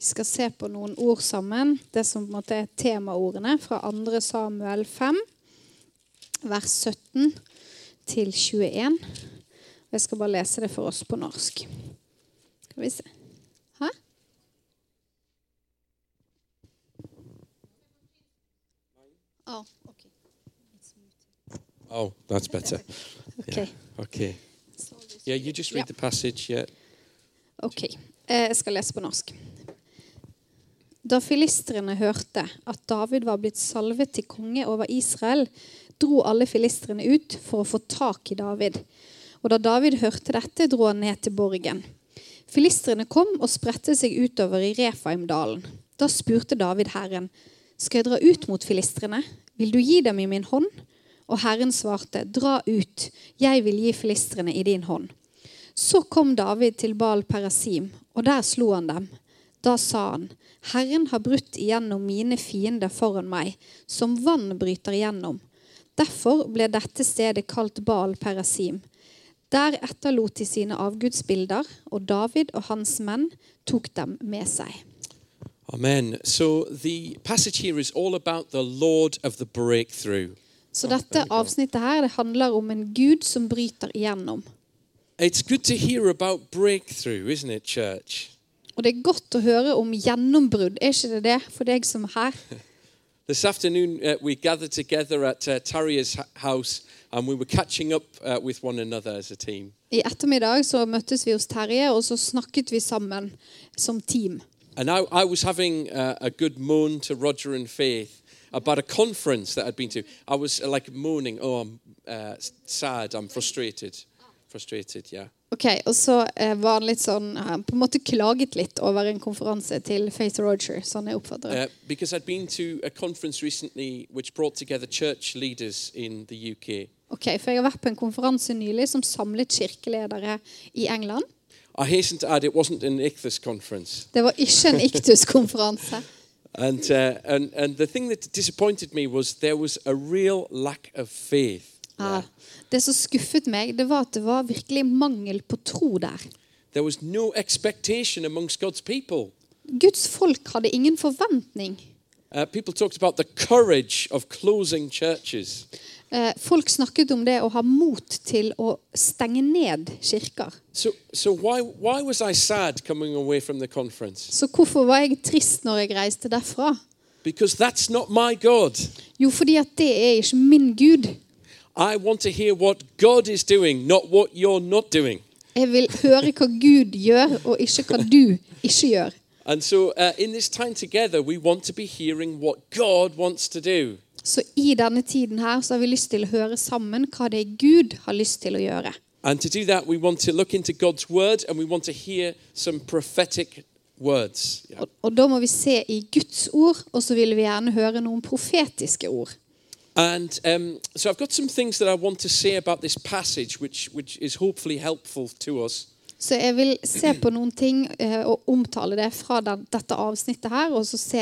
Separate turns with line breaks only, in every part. Vi skal se på noen ord sammen. Det som på en måte er temaordene fra 2. Samuel 5, vers 17 til 21. Jeg skal bare lese det for oss på norsk. Skal vi se. Hæ? Oh, ok.
Oh, that's better.
Ok.
Yeah. Okay. Yeah, you just read
Yeah.
the passage. Yeah.
Ok, eh, jeg skal lese på norsk. Da filistrene hørte at David var blitt salvet til konge over Israel, dro alle filistrene ut for å få tak i David. Og da David hørte dette, dro han ned til borgen. Filistrene kom og spredte seg utover i Refaimdalen. Da spurte David Herren, skal jeg dra ut mot filistrene? Vil du gi dem i min hånd? Og Herren svarte, dra ut, jeg vil gi filistrene i din hånd. Så kom David til Baal Perasim, og der slo han dem. Da sa han, Herren har brutt igjennom mine fiender foran meg, som vann bryter igjennom. Derfor ble dette stedet kalt Baal Perasim. Der etterlot de sine avgudsbilder, og David og hans menn tok dem med seg.
Amen. So the passage here is all about the Lord of the breakthrough.
Så dette avsnittet her, det handler om en gud som bryter igjennom.
It's good to hear about breakthrough, isn't it, church?
Og det er godt å høre om gjennombrudd, er ikke det det for deg som er her?
This afternoon, uh, we gathered together at uh, Tarria's h- house and we were catching up uh, with one another as a team.
I ettermiddag så møttes vi hos Terje, og så snakket vi sammen som team.
And I, I was having uh, a good moan to Roger and Faith about a conference that I'd been to. I was uh, like moaning, oh, I'm uh, s- sad, I'm frustrated. Frustrated, yeah.
Ok, Og så eh, var han litt sånn Han på en måte klaget litt over en konferanse til Faith Roger, sånn jeg oppfatter det.
Uh, because I'd been to a conference recently which brought together church leaders in the UK.
Ok, For jeg har vært på en konferanse nylig som samlet kirkeledere i England.
I hasten to add, it wasn't an ICTHUS conference.
Det var ikke en Iktus-konferanse.
And, uh, and, and the thing that disappointed me was there was a real lack of faith.
Ja. Ah. Det som skuffet meg, det var at det var virkelig mangel på tro der.
There was no expectation amongst God's people.
Guds folk hadde ingen forventning.
Uh, people talked about the courage of closing churches.
Eh, folk snakket om det å ha mot til å stenge ned kirker.
So, so why, why was I sad coming away from the conference?
Så hvorfor var jeg trist når jeg reiste derfra?
Because that's not my God.
Jo, fordi at det er ikke min Gud.
I want to hear what God is doing, not what you're not doing.
Jeg vil høre hva Gud gjør, og ikke hva du ikke gjør.
And so, uh, in this time together, we want to be hearing what God wants to do.
Så i denne tiden her så har vi lyst til å høre sammen hva det er Gud har lyst til å gjøre.
And to do that, we want to look into God's word and we want to hear some prophetic words. Yeah.
Og, og da må vi se i Guds ord, og så vil vi gjerne høre noen profetiske ord.
And um, so, I've got some things that I want to say about this passage, which, which is hopefully helpful to us.
Så jeg vil se på noen ting eh, og omtale det fra den, dette avsnittet her, og så se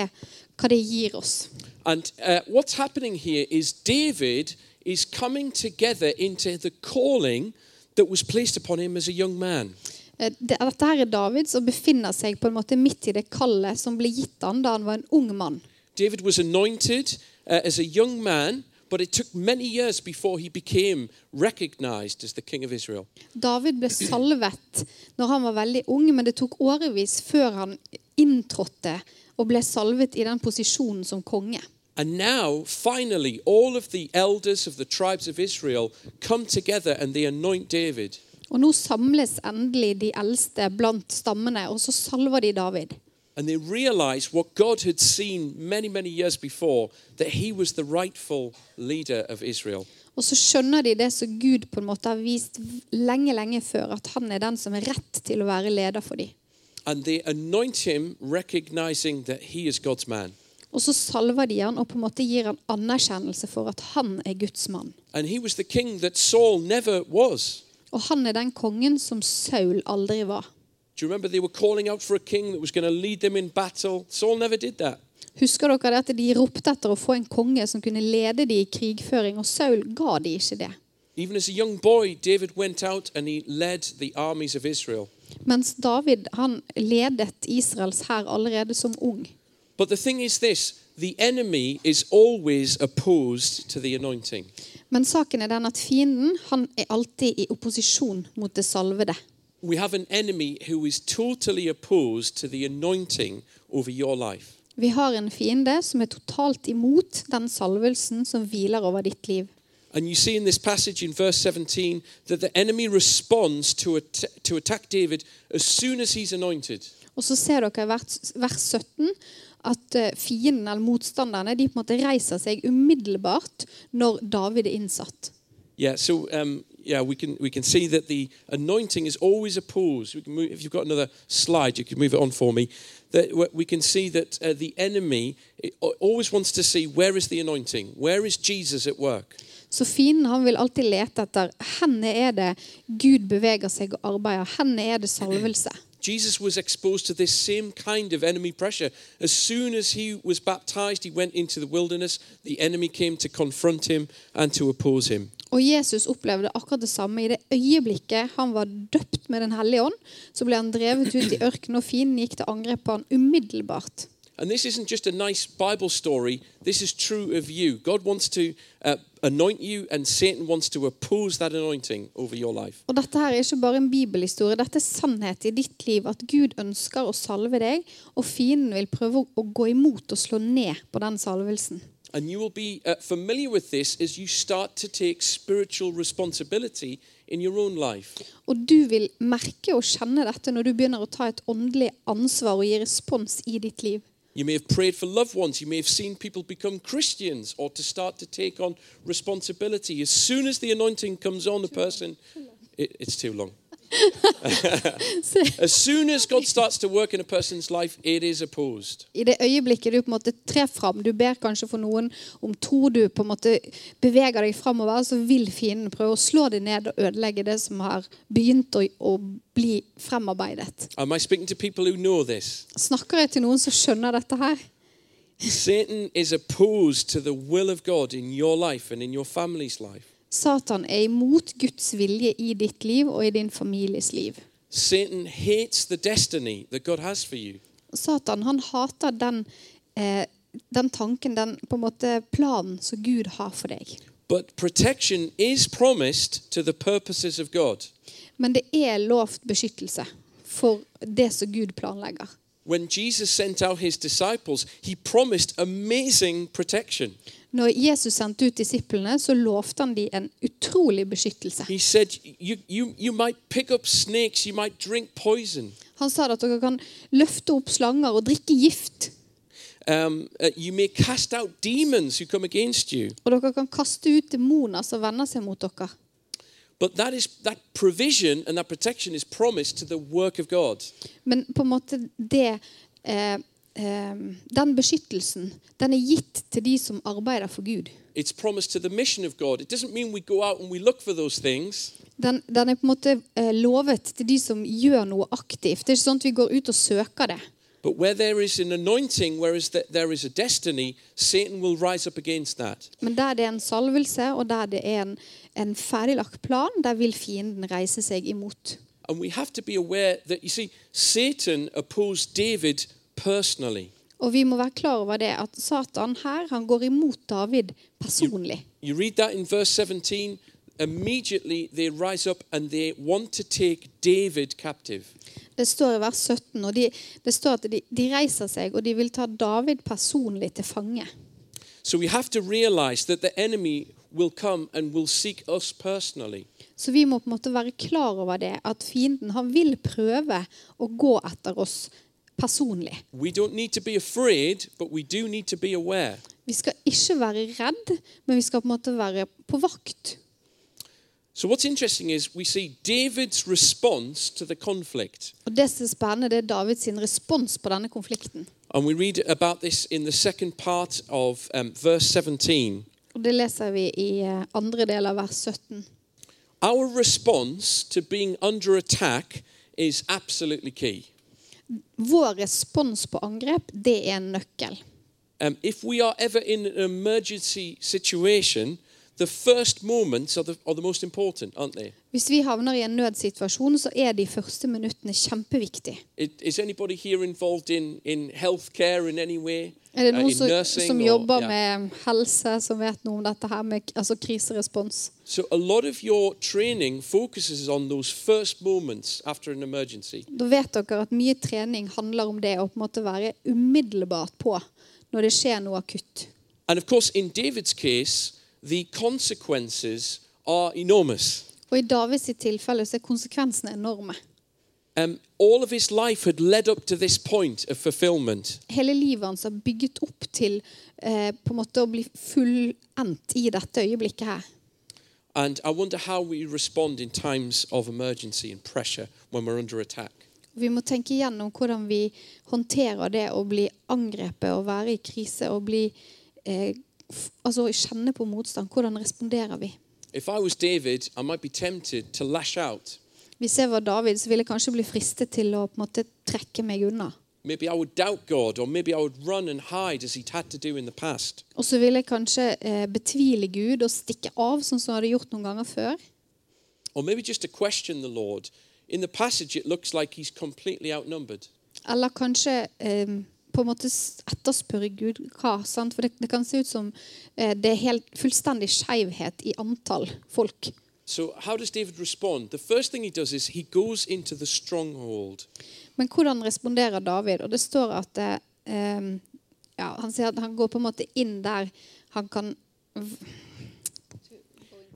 hva det gir oss.
And uh, what's happening here is David is coming together into the calling that was placed upon him as a young man.
Eh, det- Dette her er David som befinner seg på en måte midt i det kallet som ble gitt han da han var en ung mann.
David was anointed uh, as a young man, but it took many years before he became recognized as the king of Israel.
David ble salvet når han var veldig ung, men det tok årevis før han inntrådte og ble salvet i den posisjonen som konge.
And now, finally, all of the elders of the tribes of Israel come together and they anoint David.
Og nå samles endelig de eldste blant stammene, og så salver de David.
And they realize what God had seen many, many years before that he was the rightful leader of Israel.
Og så skjønner de det som Gud på en måte har vist lenge, lenge før, at han er den som er rett til å være leder for dem.
And they anoint him, recognizing that he is God's man.
Og så salver de han og på en måte gir han anerkjennelse for at han er Guds mann.
And he was the king that Saul never was.
Og han er den kongen som Saul aldri var.
Do you remember they were calling out for a king that was going to lead them in battle? Saul never did that.
Husker dere det at de ropte etter å få en konge som kunne lede de i krigføring, og Saul ga de ikke det.
Even as a young boy, David went out and he led the armies of Israel.
Mens David han ledet Israels hær allerede som ung.
But the thing is this the enemy is always opposed to the anointing.
Men saken er den at fienden han er alltid i opposisjon mot det salvede.
We have an enemy who is totally opposed to the anointing over your life.
Vi har en fiende som er totalt imot den salvelsen som hviler over ditt liv.
And you see in this passage in verse 17 that the enemy responds to, at- to attack David as soon as he's anointed.
Og så ser dere i vers, vers 17 at eh, fienden eller motstanderne de på en måte reiser seg umiddelbart når David er innsatt.
Yeah, so um, yeah, we can we can see that the anointing is always opposed. We can move, if you've got another slide, you can move it on for me. That w- we can see that uh, the enemy it al- always wants to see where is the anointing, where is Jesus at work.
Så fienden han vil alltid lete etter henne er det Gud beveger seg og arbeider. Henne er det salvelse.
Jesus was exposed to this same kind of enemy pressure. As soon as he was baptized, he went into the wilderness. The enemy came to confront him and to oppose him.
Og Jesus opplevde akkurat det samme. I det øyeblikket han var døpt med Den hellige ånd, så ble han drevet ut i ørkenen, og fienden gikk til angrep på han umiddelbart.
And this isn't just a nice Bible story. This is true of you. God wants to uh, anoint you, and Satan wants to oppose that anointing over your life.
Og dette her er ikke bare en bibelhistorie, dette er sannhet i ditt liv. At Gud ønsker å salve deg, og fienden vil prøve å- å gå imot og slå ned på den salvelsen.
And you will be uh, familiar with this as you start to take spiritual responsibility in your own life.
Og du vil merke og kjenne dette når du begynner å ta et åndelig ansvar og gi respons i ditt liv.
You may have prayed for loved ones. You may have seen people become Christians or to start to take on responsibility. As soon as the anointing comes on a person, it, it's too long. as soon as God starts to work in a person's life, it is opposed.
I det øyeblikket du på en måte trer fram, du ber kanskje for noen om tro, du på en måte beveger deg framover, så vil fienden prøve å slå deg ned og ødelegge det som har begynt å, å bli fremarbeidet.
Am I speaking to people who know this?
Snakker jeg til noen som skjønner dette her?
Satan is opposed to the will of God in your life and in your family's life.
Satan er imot Guds vilje i ditt liv og i din families liv.
Satan hates the destiny that God has for you.
Satan han hater den, eh, den tanken, den på en måte planen som Gud har for deg.
But protection is promised to the purposes of God.
Men det er lovt beskyttelse for det som Gud planlegger.
When Jesus sent out his disciples, he promised amazing protection.
Når Jesus sendte ut disiplene, så lovte han de en utrolig beskyttelse.
He said, you, you, you might pick up snakes, you might drink poison,
Han sa at dere kan løfte opp slanger og drikke gift,
um, uh, you may cast out demons who come against you.
og dere kan kaste ut demoner som vender seg mot dere.
But that is that provision and that protection is promised to the work of God.
Men på en måte det eh, eh, Den beskyttelsen, den er gitt til de som arbeider for Gud.
It's promised to the mission of God. It doesn't mean we go out and we look for those things.
Den, den er på en måte eh, lovet til de som gjør noe aktivt. Det er ikke sånn at vi går ut og søker det.
But where there is an anointing, where is that there is a destiny, Satan will rise up against that.
Men der det er en salvelse, og der det er en, en ferdiglagt plan, der vil fienden reise seg imot.
And we have to be aware that you see, Satan opposed David personally.
Og vi må være klar over det at Satan her han går imot David personlig.
You read that in verse 17. Immediately they rise up and they want to take David captive.
Det står i vers 17, og de, det står at de, de reiser seg og de vil ta David personlig til fange.
So we have to realize that the enemy will come and will seek us personally.
Så vi må på en måte være klar over det, at fienden han vil prøve å gå etter oss personlig.
We don't need to be afraid, but we do need to be aware.
Vi skal ikke være redd, men vi skal på en måte være på vakt.
So what's interesting is we see David's response to the conflict.
Og det som er spennende, det er Davids sin respons på denne konflikten.
And we read about this in the second part of um, verse 17.
Og det leser vi i eh, andre del av vers 17.
Our response to being under attack is absolutely key.
Vår respons på angrep, det er en nøkkel.
Um, if we are ever in an emergency situation, the first moments are the, are the most important, aren't they?
Hvis vi havner i en nødsituasjon, så er de første minuttene kjempeviktige.
Is, is anybody here involved in, in healthcare in any way?
Er det
Uh,
noen
in
som,
nursing
som
or-
jobber
yeah.
med helse, som vet noe om dette her med altså kriserespons?
So a lot of your training focuses on those first moments after an emergency.
Da vet dere at mye trening handler om det å på en måte være umiddelbart på når det skjer noe akutt.
And of course, in David's case, the consequences are enormous.
Og I Davids sitt tilfelle så er konsekvensene enorme.
Um, all of his life had led up to this point of fulfillment.
Hele livet hans har bygget opp til eh, på en måte å bli fullendt i dette øyeblikket her.
And I wonder how we respond in times of emergency and pressure when we're under attack.
Og Vi må tenke igjennom hvordan vi håndterer det å bli angrepet og være i krise og bli eh, f Altså kjenne på motstand. Hvordan responderer vi?
If I was David, I might be tempted to lash out.
Hvis jeg var David, så ville jeg kanskje bli fristet til å på en måte trekke meg unna.
Maybe I would doubt God, or maybe I would run and hide as he'd had to do in the past.
Og så ville jeg kanskje eh, betvile Gud og stikke av, sånn som jeg hadde gjort noen ganger før.
Or maybe just to question the Lord. In the passage, it looks like he's completely outnumbered.
Eller kanskje eh, på en måte s- etterspørre Gud hva. Sant? For det, det kan se ut som eh, det er helt, fullstendig skeivhet i antall folk.
So, how does David respond? The first thing he does is he goes into the stronghold.
Men hvordan responderer David? Og det står at eh, em, ja, han sier at han går på en måte inn der han kan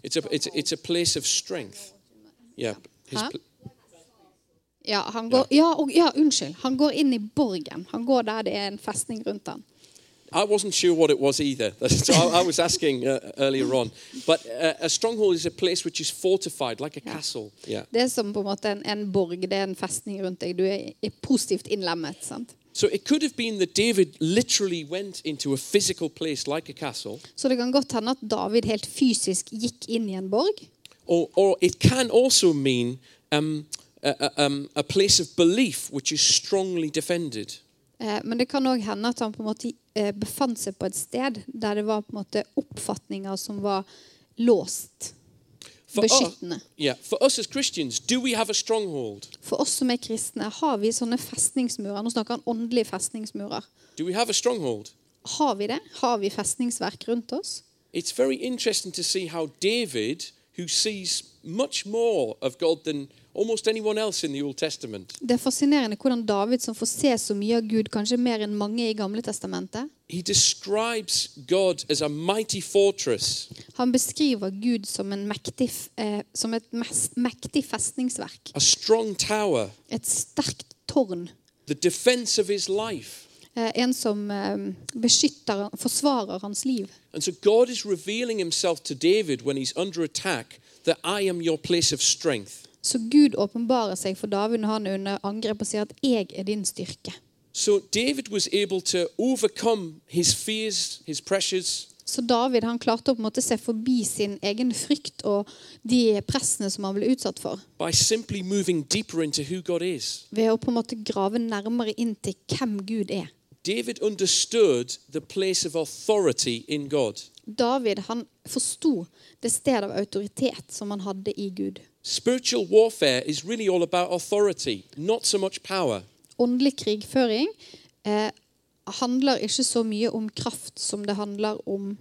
It's a, it's, a- it's a place of strength. Yeah. His
Huh?
pl-
ja, han går, ja, og, ja, unnskyld. Han går inn i borgen. Han går der det er en festning rundt han.
I wasn't sure what it was either. That's- I, I was asking uh, earlier on. But uh, a stronghold is a place which is fortified, like a castle. Yeah.
Det er som på en måte en, en borg, det er en festning rundt deg. Du er, er positivt innlemmet. sant?
So, it could have been that David literally went into a physical place like a castle.
Så det kan godt hende at David helt fysisk gikk inn i en borg.
Or, or it can also mean um, a, a- um, a place of belief which is strongly defended.
Eh, men det kan òg hende at han på en måte eh, befant seg på et sted der det var på en måte oppfatninger som var låst.
For us-
Beskyttende.
yeah, for us as Christians, do we have a stronghold?
For oss som er kristne, har vi sånne festningsmurer. Nå snakker han åndelige festningsmurer.
Do we have a stronghold?
Har vi det? Har vi festningsverk rundt oss?
It's very interesting to see how David, who sees much more of God than almost anyone else in the Old Testament,
Det er fascinerende hvordan David, som får se så mye av Gud, kanskje mer enn mange i Gamle testamentet,
he describes God as a mighty fortress,
han beskriver Gud som, en mektig, f- eh, som et mes- mektig festningsverk.
a strong tower,
Et sterkt tårn.
the defense of his life.
Eh, en som eh, beskytter, forsvarer hans liv.
And so God is revealing himself to David when he's under attack that I am your place of strength.
Så Gud åpenbarer seg for David når han er under angrep og sier at 'jeg er din styrke'.
So David was able to overcome his fears, his pressures,
Så David han klarte å på en måte se forbi sin egen frykt og de pressene som han ble utsatt for,
by simply moving deeper into who God is.
ved å på en måte grave nærmere inn til hvem Gud er.
David understood the place of authority in God.
David han forsto det stedet av autoritet som han hadde i Gud.
Spiritual warfare is really all about authority, not so much power.
Åndelig krigføring eh, handler ikke så mye om kraft som det handler om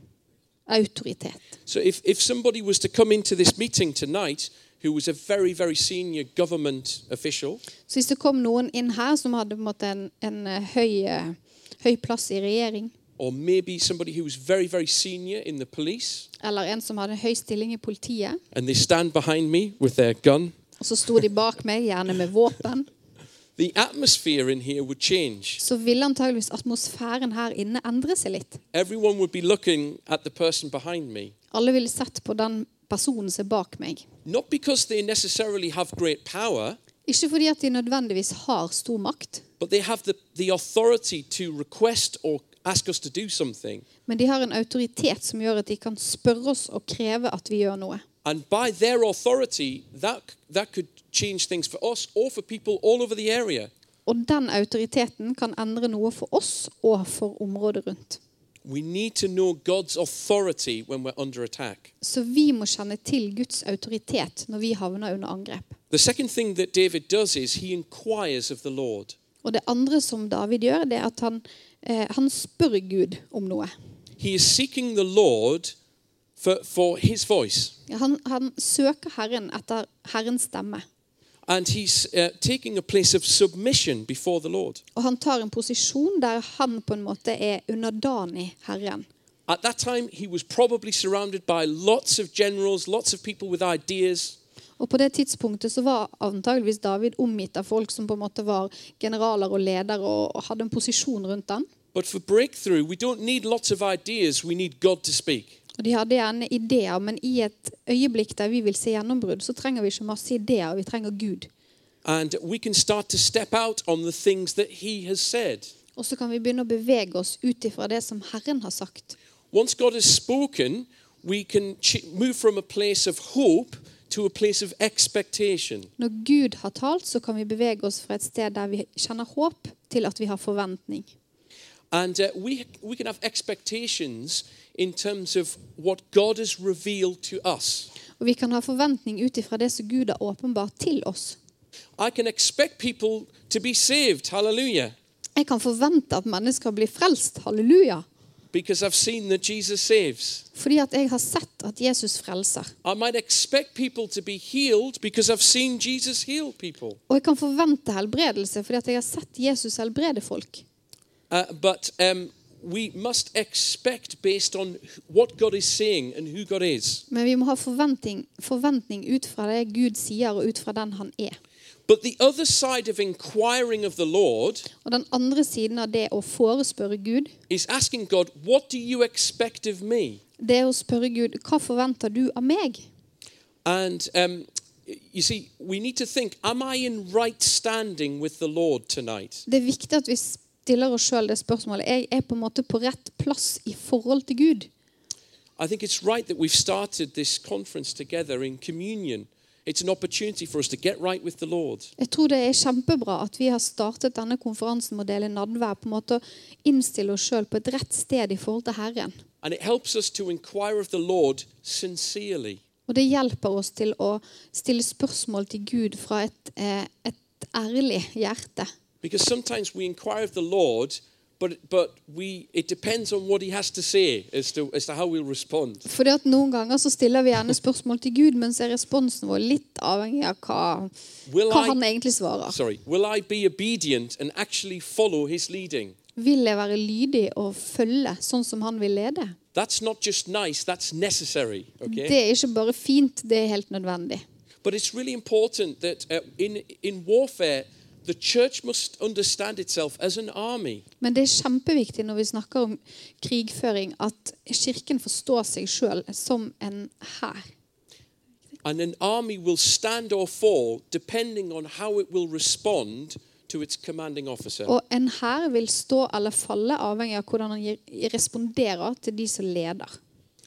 autoritet.
So if, if somebody was to come into this meeting tonight who was a very, very senior government official,
Så hvis det kom noen inn her som hadde på en måte en, en eh, høy, eh, høy plass i regjering,
or maybe somebody who was very, very senior in the police,
eller en som hadde en høy stilling i politiet,
and they stand behind me with their gun,
og så sto de bak meg, gjerne med våpen,
the atmosphere in here would change.
så ville antageligvis atmosfæren her inne endre seg litt.
Everyone would be looking at the person behind me,
Alle ville sett på den personen som er bak meg.
not because they necessarily have great power,
Ikke fordi at de nødvendigvis har stor makt,
but they have the, the authority to request or ask us to do something.
men de har en autoritet som gjør at de kan spørre oss og kreve at vi gjør noe.
And by their authority, that, that could change things for us or for people all over the area.
Og den autoriteten kan endre noe for oss og for området rundt.
We need to know God's authority when we're under attack.
Så vi må kjenne til Guds autoritet når vi havner under angrep.
The second thing that David does is he inquires of the Lord.
Og det andre som David gjør, det er at han, eh, han spør Gud om noe.
He is seeking the Lord for, for his voice,
Han, han søker Herren etter Herrens stemme.
and he's uh, taking a place of submission before the Lord.
Og han tar en posisjon der han på en måte er underdanig Herren.
At that time, he was probably surrounded by lots of generals, lots of people with ideas.
Og på det tidspunktet så var antageligvis David omgitt av folk som på en måte var generaler og ledere og, og hadde en posisjon rundt han.
But for breakthrough, we don't need lots of ideas, we need God to speak.
Og De hadde gjerne ideer, men i et øyeblikk der vi vil se gjennombrudd, så trenger vi ikke masse ideer, vi trenger Gud.
And we can start to step out on the things that he has said.
Og så kan vi begynne å bevege oss ut ifra det som Herren har sagt.
Once God has spoken, we can ch- move from a place of hope to a place of expectation.
Når Gud har talt, så kan vi bevege oss fra et sted der vi kjenner håp, til at vi har forventning.
And uh, we, we can have expectations in terms of what God has revealed to us.
Og vi kan ha forventning ut ifra det som Gud har åpenbart til oss.
I can expect people to be saved, hallelujah,
Jeg kan forvente at mennesker blir frelst, halleluja,
because I've seen that Jesus saves.
fordi at jeg har sett at Jesus frelser.
I might expect people to be healed because I've seen Jesus heal people.
Og jeg kan forvente helbredelse fordi at jeg har sett Jesus helbrede folk.
Uh, but um, we must expect based on what God is saying and who God is.
Men vi må ha forventning, forventning ut fra det Gud sier, og ut fra den han er.
But the other side of inquiring of the Lord
Og den andre siden av det å forespørre Gud,
is asking God, What do you expect of me?
det er å spørre Gud hva forventer du av meg?
And um, you see, we need to think, Am I in right standing with the Lord tonight?
Det er viktig at vi stiller oss sjøl det spørsmålet. Jeg er på en måte på rett plass i forhold til Gud.
I think it's right that we've started this conference together in communion. It's an opportunity for us to get right with the Lord.
Jeg tror det er kjempebra at vi har startet denne konferansen med å dele nadvær. På en måte å innstille oss sjøl på et rett sted i forhold til Herren.
And it helps us to inquire of the Lord sincerely.
Og det hjelper oss til å stille spørsmål til Gud fra et, eh, et ærlig hjerte.
Because sometimes we inquire of the Lord, but, but we, it depends on what he has to say as to, as to how we'll respond.
For at noen ganger så stiller vi gjerne spørsmål til Gud, men så er responsen vår litt avhengig av hva,
Will
hva
I-
han egentlig svarer.
Sorry, will I be obedient and actually follow his leading?
Vil jeg være lydig og følge sånn som han vil lede?
That's not just nice, that's necessary, okay?
Det er ikke bare fint, det er helt nødvendig.
But it's really important that uh, in, in warfare, the church must understand itself as an army.
Men det er kjempeviktig når vi snakker om krigføring, at Kirken forstår seg sjøl som en hær.
And an army will stand or fall depending on how it will respond to its commanding officer.
Og en hær vil stå eller falle avhengig av hvordan han gir- responderer til de som leder.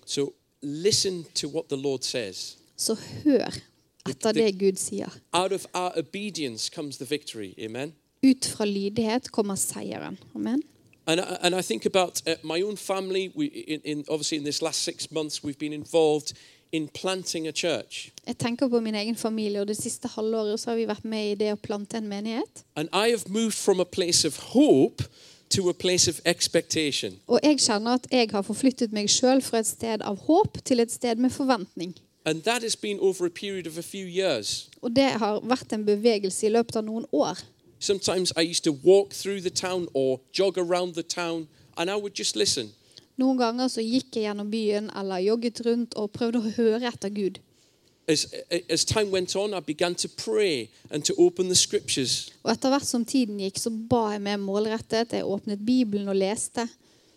So listen to what the Lord says.
Så hør etter det Gud sier.
Out of our obedience comes the victory. Amen.
Ut fra lydighet kommer seieren. Amen.
And I, and I think about uh, my own family. We, in, in, obviously, in this last six months, we've been involved in planting a church.
Jeg tenker på min egen familie, og det siste halvåret så har vi vært med i det å plante en menighet.
And I have moved from a place of hope to a place of expectation.
Og jeg kjenner at jeg har forflyttet meg sjøl fra et sted av håp til et sted med forventning.
And that has been over a period of a few years.
Og det har vært en bevegelse i løpet av noen år.
Sometimes I used to walk through the town or jog around the town, and I would just listen.
Noen ganger så gikk jeg gjennom byen eller jogget rundt og prøvde å høre etter Gud.
As, as time went on, I began to pray and to open the scriptures.
Og etter hvert som tiden gikk, så ba jeg mer målrettet. Jeg åpnet Bibelen og leste.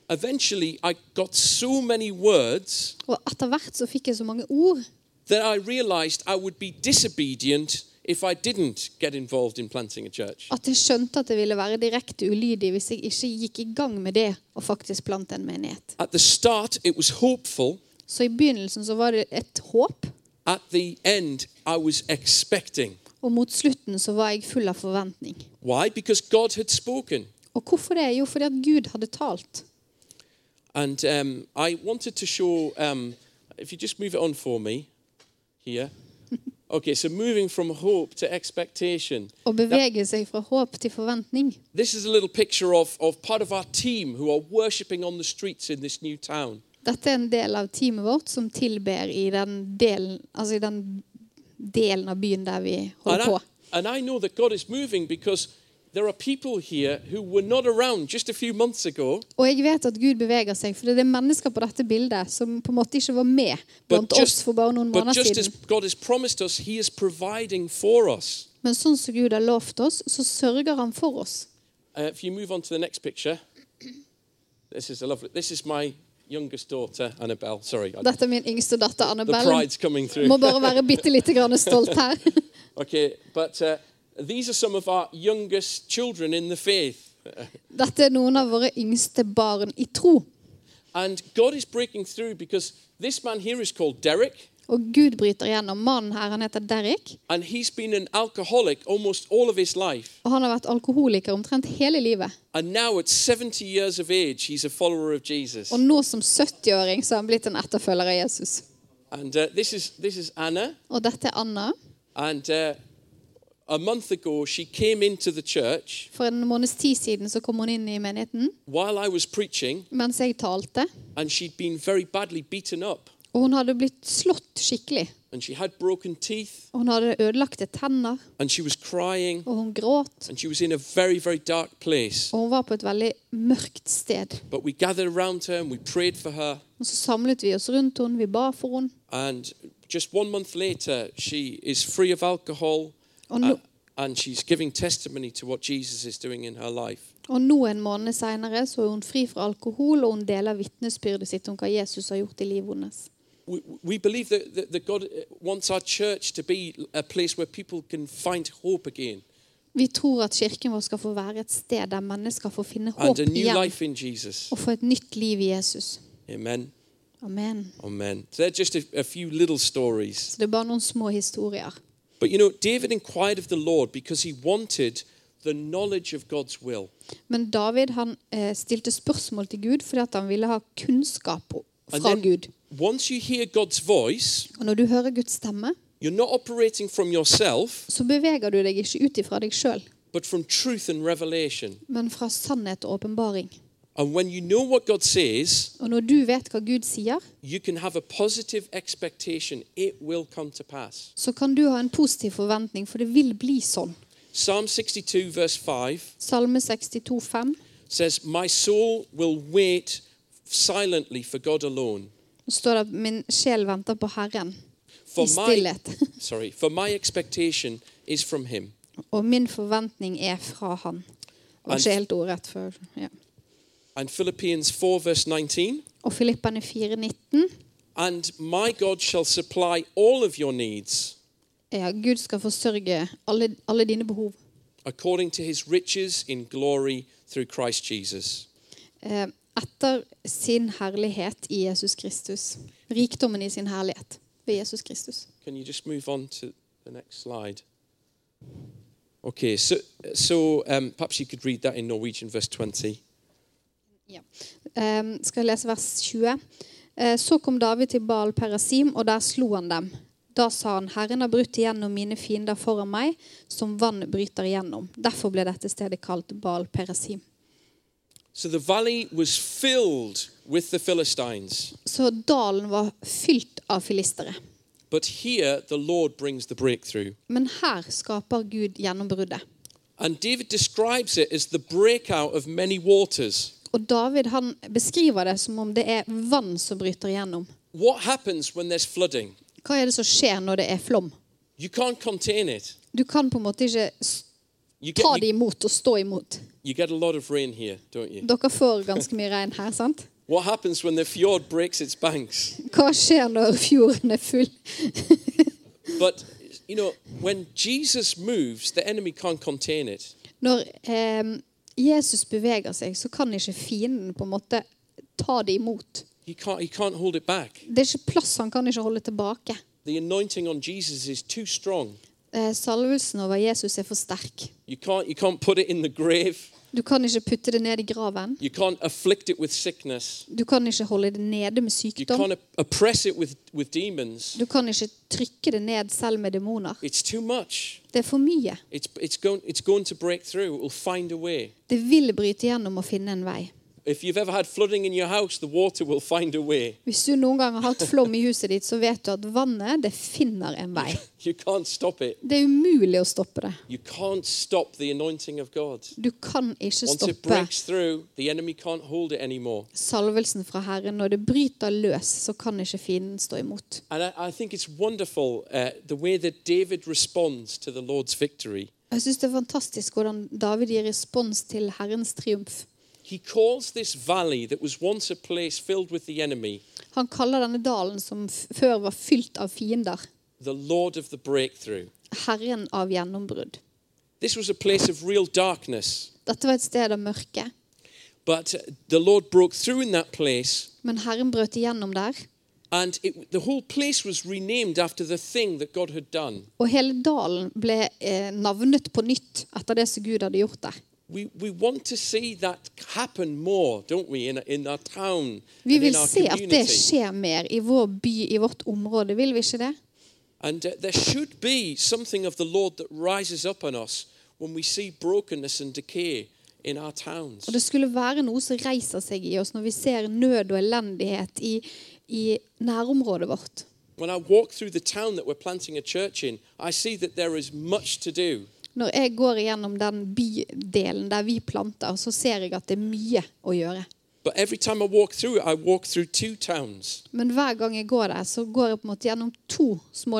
Eventually, I got so many words
Og etter hvert så fikk jeg så mange ord
that I realized I would be disobedient if I didn't get involved in planting a church.
at jeg skjønte at jeg ville være direkte ulydig hvis jeg ikke gikk i gang med det og faktisk plante en menighet.
At the start, it was hopeful.
Så i begynnelsen så var det et håp,
At the end, I was expecting.
og mot slutten så var jeg full av forventning.
Why? Because God had spoken.
Og hvorfor det? Jo, fordi at Gud hadde talt.
And um, I wanted to show, um, if you just move it on for me here. Okay, so moving from hope to expectation.
Å bevege seg fra håp til forventning.
This is a little picture of, of part of our team who are worshipping on the streets in this new town.
Dette er en del av teamet vårt som tilber i den delen, altså i den delen av byen der vi
And
holder
I,
på.
and I know that God is moving because there are people here who were not around just a few months ago,
Og jeg vet at Gud beveger seg, for det er mennesker på dette bildet som på en måte ikke var med
but
blant oss
just,
for bare noen
but
måneder
just as
siden.
God has promised us, He is providing for us.
Men sånn som Gud har lovt oss, så sørger han for oss.
Uh, if you move on to the next picture, this is a lovely. This is my youngest daughter, Annabelle. Sorry, I-
Dette er min yngste datter
the
Annabelle.
pride's coming through.
Må bare være bitte lite grann stolt her.
Okay, but uh, these are some of our youngest children in the faith.
Dette er noen av våre yngste barn i tro.
And God is breaking through because this man here is called Derek,
Og Gud bryter gjennom. Mannen her han heter Derek,
and he's been an alcoholic almost all of his life.
og han har vært alkoholiker omtrent hele livet.
And now, at 70 years of age, he's a follower of Jesus.
Og nå som 70-åring så har han blitt en etterfølger av Jesus.
And uh, this, is, this is Anna.
Og dette er Anna.
And uh, a month ago, she came into the church
For en måneds tid siden så kom hun inn i menigheten
while I was preaching,
mens jeg talte.
and she'd been very badly beaten up.
Og hun hadde blitt slått skikkelig.
And she had broken teeth,
Og hun hadde ødelagte tenner,
and she was crying,
og hun gråt.
and she was in a very, very dark place.
Og hun var på et veldig mørkt sted.
But we gathered around her and we prayed for her.
Og så samlet vi oss rundt henne, vi ba for henne.
And just one month later, she is free of alcohol
Og nå,
uh, and she's giving testimony to what Jesus is doing in her life.
og nå en måned seinere så er hun fri fra alkohol, og hun deler vitnesbyrdet sitt om hva Jesus har gjort i livet hennes.
We, we believe that, that, that God uh, wants our church to be a place where people can find hope again
Vi tror at kirken vår skal få være et sted der mennesker får finne
and
håp
a new
igjen
life in Jesus.
og få et nytt liv i Jesus.
Amen.
Amen.
Amen. So they're just a, a few little stories.
Så det er bare noen små historier.
But you know, David inquired of the Lord because he wanted the knowledge of God's will.
Men David han eh, stilte spørsmål til Gud fordi at han ville ha kunnskap o-
And
fra
then
Gud.
once you hear God's voice,
Og når du hører Guds stemme,
You're not operating from yourself,
så beveger du deg ikke ut ifra deg sjøl,
but from truth and revelation.
men fra sannhet og åpenbaring.
And when you know what God says,
Og når du vet hva Gud sier,
you can have a positive expectation. It will come to pass.
så kan du ha en positiv forventning, for det vil bli sånn.
Psalm 62, verse 5
Salme 62, 62,5.
says, My soul will wait silently for God alone.
Det står det at 'min sjel venter på Herren
For
i
my,
stillhet'.
sorry, for my expectation is from Him.
Og min forventning er fra Han. Og
And-
ikke helt ordrett før. Ja.
And Philippians 4, verse 19,
Og Filippane 4,19.
and my God shall supply all of your needs
Ja, Gud skal forsørge alle, alle dine behov.
according to His riches in glory through Christ Jesus.
eh, etter sin herlighet i Jesus Kristus. Rikdommen i sin herlighet ved Jesus Kristus.
Can you just move on to the next slide? Okay, so, so um, perhaps you could read that in Norwegian, verse 20.
Eh, skal jeg lese vers 20? Eh, så kom David til Baal Perasim, og der slo han dem. Da sa han, Herren har brutt igjennom mine fiender foran meg, som vann bryter igjennom. Derfor ble dette stedet kalt Baal Perasim.
So the valley was filled with the Philistines,
Så dalen var fylt av filistere.
but here the Lord brings the breakthrough.
Men her skaper Gud gjennombruddet.
And David describes it as the breakout of many waters.
Og David han beskriver det som om det er vann som bryter igjennom.
What happens when there's flooding?
Hva er det som skjer når det er flom?
You can't contain it.
Du kan på en måte ikke s-
You get,
ta
you,
det imot og stå imot.
you get a lot of rain here, don't you?
Dere får ganske mye regn her, sant?
What happens when the fjord breaks its banks?
Hva skjer når fjorden er full?
But you know, when Jesus moves, the enemy can't contain it.
Når eh, Jesus beveger seg, så kan ikke fienden på en måte ta det imot.
He can't he can't hold it back.
Det er ikke plass, han kan ikke holde tilbake.
The anointing on Jesus is too strong.
Eh, salvelsen over Jesus er for sterk.
You can't you can't put it in the grave.
Du Du kan ikke putte det ned i graven.
You can't afflict it with sickness.
Du kan ikke holde det nede med
You
sykdom.
can't op- oppress it with, with demons.
Du kan ikke trykke det ned selv med demoner.
It's too much.
Det er for mye.
It's, it's, going, it's going to break through. It will find a way.
Det vil bryte gjennom og finne en vei.
If you've ever had flooding in your house, the water will find a way.
Hvis du noen gang har hatt flom i huset ditt, så vet du at vannet det finner en vei.
You can't stop it.
Det er umulig å stoppe det.
You can't stop the anointing of God.
Du kan ikke
Once it
stoppe
breaks through, the enemy can't hold it anymore.
salvelsen fra Herren. Når det bryter løs, så kan ikke fienden stå imot.
And I, I think it's wonderful uh, the way that David responds to the Lord's victory.
Jeg syns det er fantastisk hvordan David gir respons til Herrens triumf.
He calls this valley that was once a place filled with the enemy
Han kaller denne dalen, som f før var fylt av fiender,
the Lord of the breakthrough.
Herren av gjennombrudd.
This was a place of real darkness,
Dette var et sted av mørke,
but the Lord broke through in that place,
men Herren brøt igjennom der.
and it, the whole place was renamed after the thing that God had done.
Og hele dalen ble eh, navnet på nytt etter det som Gud hadde gjort der.
We, we want to see that happen more, don't we, in, in our town,
Vi
and
vil
in our
se at det
community.
skjer mer i vår by, i vårt område. Vil vi ikke det?
And uh, there should be something of the Lord that rises up on us when we see brokenness and decay in our towns.
Og det skulle være noe som reiser seg i oss når vi ser nød og elendighet i, i nærområdet vårt.
When I walk through the town that we're planting a church in, I see that there is much to do.
Når jeg går igjennom den bydelen der vi planter, så ser jeg at det er mye å gjøre.
But every time I walk through it, I walk through two towns.
Men hver gang jeg går der, så går jeg på en måte gjennom to små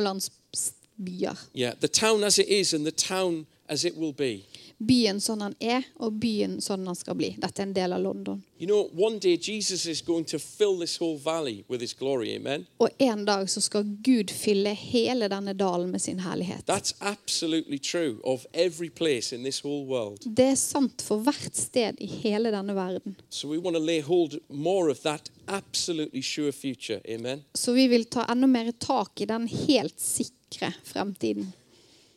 landsbyer.
Yeah, the town as it is and the town as it will be.
Byen sånn han er, og byen sånn han skal bli. Dette er en del av London.
You know, one day Jesus is going to fill this whole valley with his glory. Amen.
Og en dag så skal Gud fylle hele denne dalen med sin herlighet.
That's absolutely true of every place in this whole world.
Det er sant for hvert sted i hele denne verden.
So we want to lay hold more of that absolutely sure future. Amen.
Så vi vil ta enda mer tak i den helt sikre fremtiden.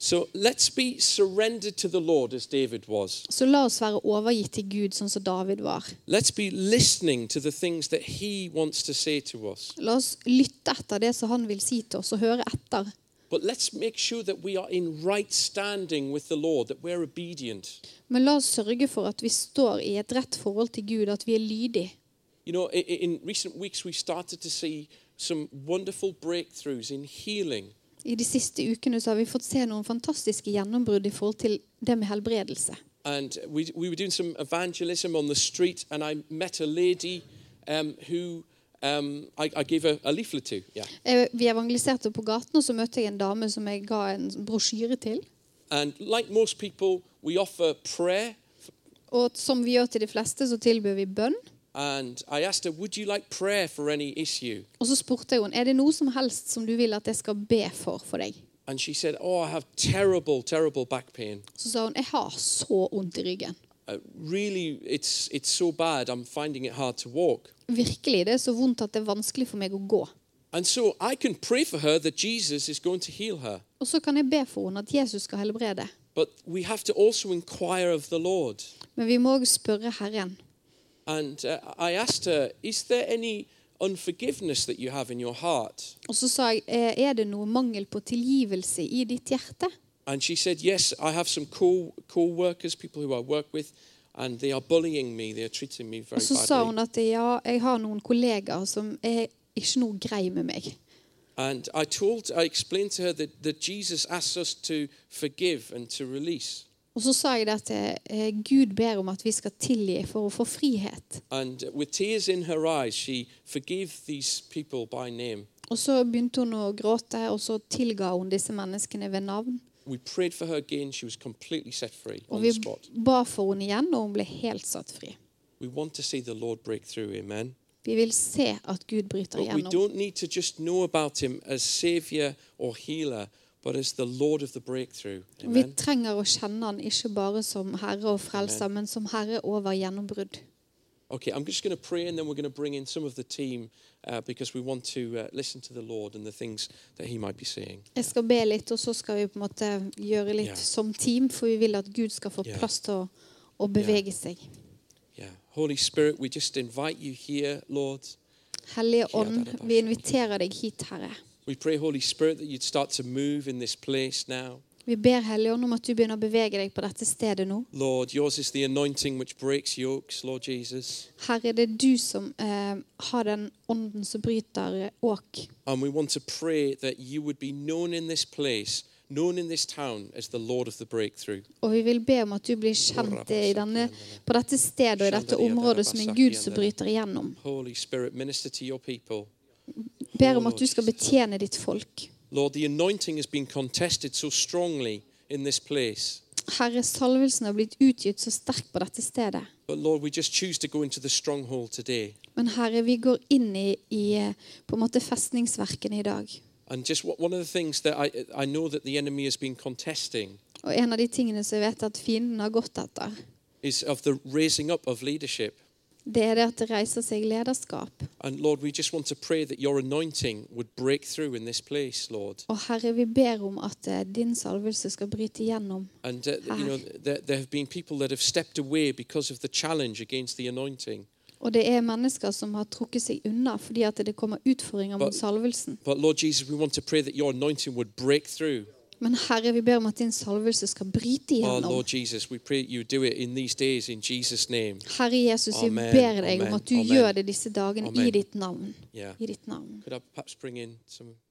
So let's be surrendered to the Lord as David was.
Så la oss være overgitt til Gud, sånn som David var.
Let's be listening to the things that he wants to say to us.
La oss lytte etter det som han vil si til oss, og høre etter.
But let's make sure that we are in right standing with the Lord, that we're obedient.
Men la oss sørge for at vi står i et rett forhold til Gud, at vi er lydige.
You know, i- i- in recent weeks, we've started to see some wonderful breakthroughs in healing.
I de siste ukene så har vi fått se noen fantastiske gjennombrudd i forhold til det med helbredelse.
And we, we were doing some evangelism on the street, and I met a lady um, who um, I, I gave a, a leaflet to. Yeah.
Eh, Vi evangeliserte på gaten, og så møtte jeg en dame som jeg ga en brosjyre til.
And like most people, we offer prayer.
Og som vi gjør til de fleste, så tilbyr vi bønn.
And I asked her, Would you like prayer for any issue?
Og så spurte jeg henne er det noe som helst som du vil at jeg skal be for for deg.
And she said, Oh, I have terrible, terrible back pain.
Så sa hun jeg har så vondt i ryggen.
Uh, really, it's, it's so bad, I'm finding it hard to walk.
Virkelig, det er så vondt at det er vanskelig for meg å gå.
And so I can pray for her that Jesus is going to heal her.
Og så kan jeg be for henne at Jesus skal helbrede.
But we have to also inquire of the Lord.
Men vi må òg spørre Herren.
And uh, I asked her, Is there any unforgiveness that you have in your heart?
Og så sa jeg «Eh, er det noe mangel på tilgivelse i ditt hjerte?
And she said, Yes, I have some co workers, people who I work with, and they are bullying me. They are treating me very
Og så
badly.
sa hun at ja, jeg har noen kollegaer som er ikke noe grei med meg.
And I told, I explained to her that, that Jesus asks us to forgive and to release.
Og så sa jeg det at eh, Gud ber om at vi skal tilgi for å få frihet.
And with tears in her eyes, she forgave these people by name.
Og så begynte hun å gråte, og så tilga hun disse menneskene ved navn.
We prayed for her again. She was completely set free
Og
on
vi
the spot.
ba for henne igjen, og hun ble helt satt fri.
We want to see the Lord break through, amen.
Vi vil se at Gud bryter
But we
igjennom.
don't need to just know about him as Savior or healer, but as the Lord of the breakthrough.
Og Vi
Amen.
trenger å kjenne han ikke bare som herre og frelser, men som herre over gjennombrudd.
Okay, I'm just going to pray and then we're going to bring in some of the team uh, because we want to uh, listen to the Lord and the things that he might be saying.
Jeg skal be litt, og så skal vi på en måte gjøre litt
Ja.
som team, for vi vil at Gud skal få
Ja.
plass til å og bevege seg.
Yeah. Holy Spirit, we just invite you here, Lord.
Hellige Ånd, vi
altså.
inviterer deg hit, Herre.
We pray, Holy Spirit, that you'd start to move in this place now.
Vi ber Hellige Ånd om at du begynner å bevege deg på dette stedet nå.
Lord, yours is the anointing which breaks yokes, Lord Jesus.
Herre, det er du som eh, har den ånden som bryter eh, åk.
And we want to pray that you would be known in this place, known in this town as the Lord of the breakthrough.
Og vi vil be om at du blir kjent eh, i denne, på dette stedet og i dette området som en Gud som bryter igjennom.
Holy Spirit, minister to your people.
Ber om at du skal betjene ditt folk.
Lord, the anointing has been contested so strongly in this place.
Herre, salvelsen har blitt utgitt så sterkt på dette stedet.
But Lord, we just choose to go into the stronghold today.
Men Herre, vi går inn i, i eh, på en måte festningsverkene i dag.
And just what, one of the things that I, I know that the enemy has been contesting
Og en av de tingene som jeg vet at fienden har gått etter,
is of the raising up of leadership.
det er det at det reiser seg lederskap.
And Lord, we just want to pray that your anointing would break through in this place, Lord.
Og Herre, vi ber om at eh, din salvelse skal bryte igjennom.
And uh, you know, there, there have been people that have stepped away because of the challenge against the anointing.
Og det er mennesker som har trukket seg unna fordi at det kommer utfordringer mot salvelsen.
But Lord Jesus, we want to pray that your anointing would break through.
Men Herre, vi ber om at din salvelse skal bryte
Oh,
igjennom.
Lord Jesus, we pray that you do it in these days in Jesus' name.
Herre Jesus, vi
Amen,
ber deg om
amen,
at du
amen.
gjør det disse dagene
Amen.
i ditt navn.
Yeah.
I ditt navn.
Could I perhaps bring in some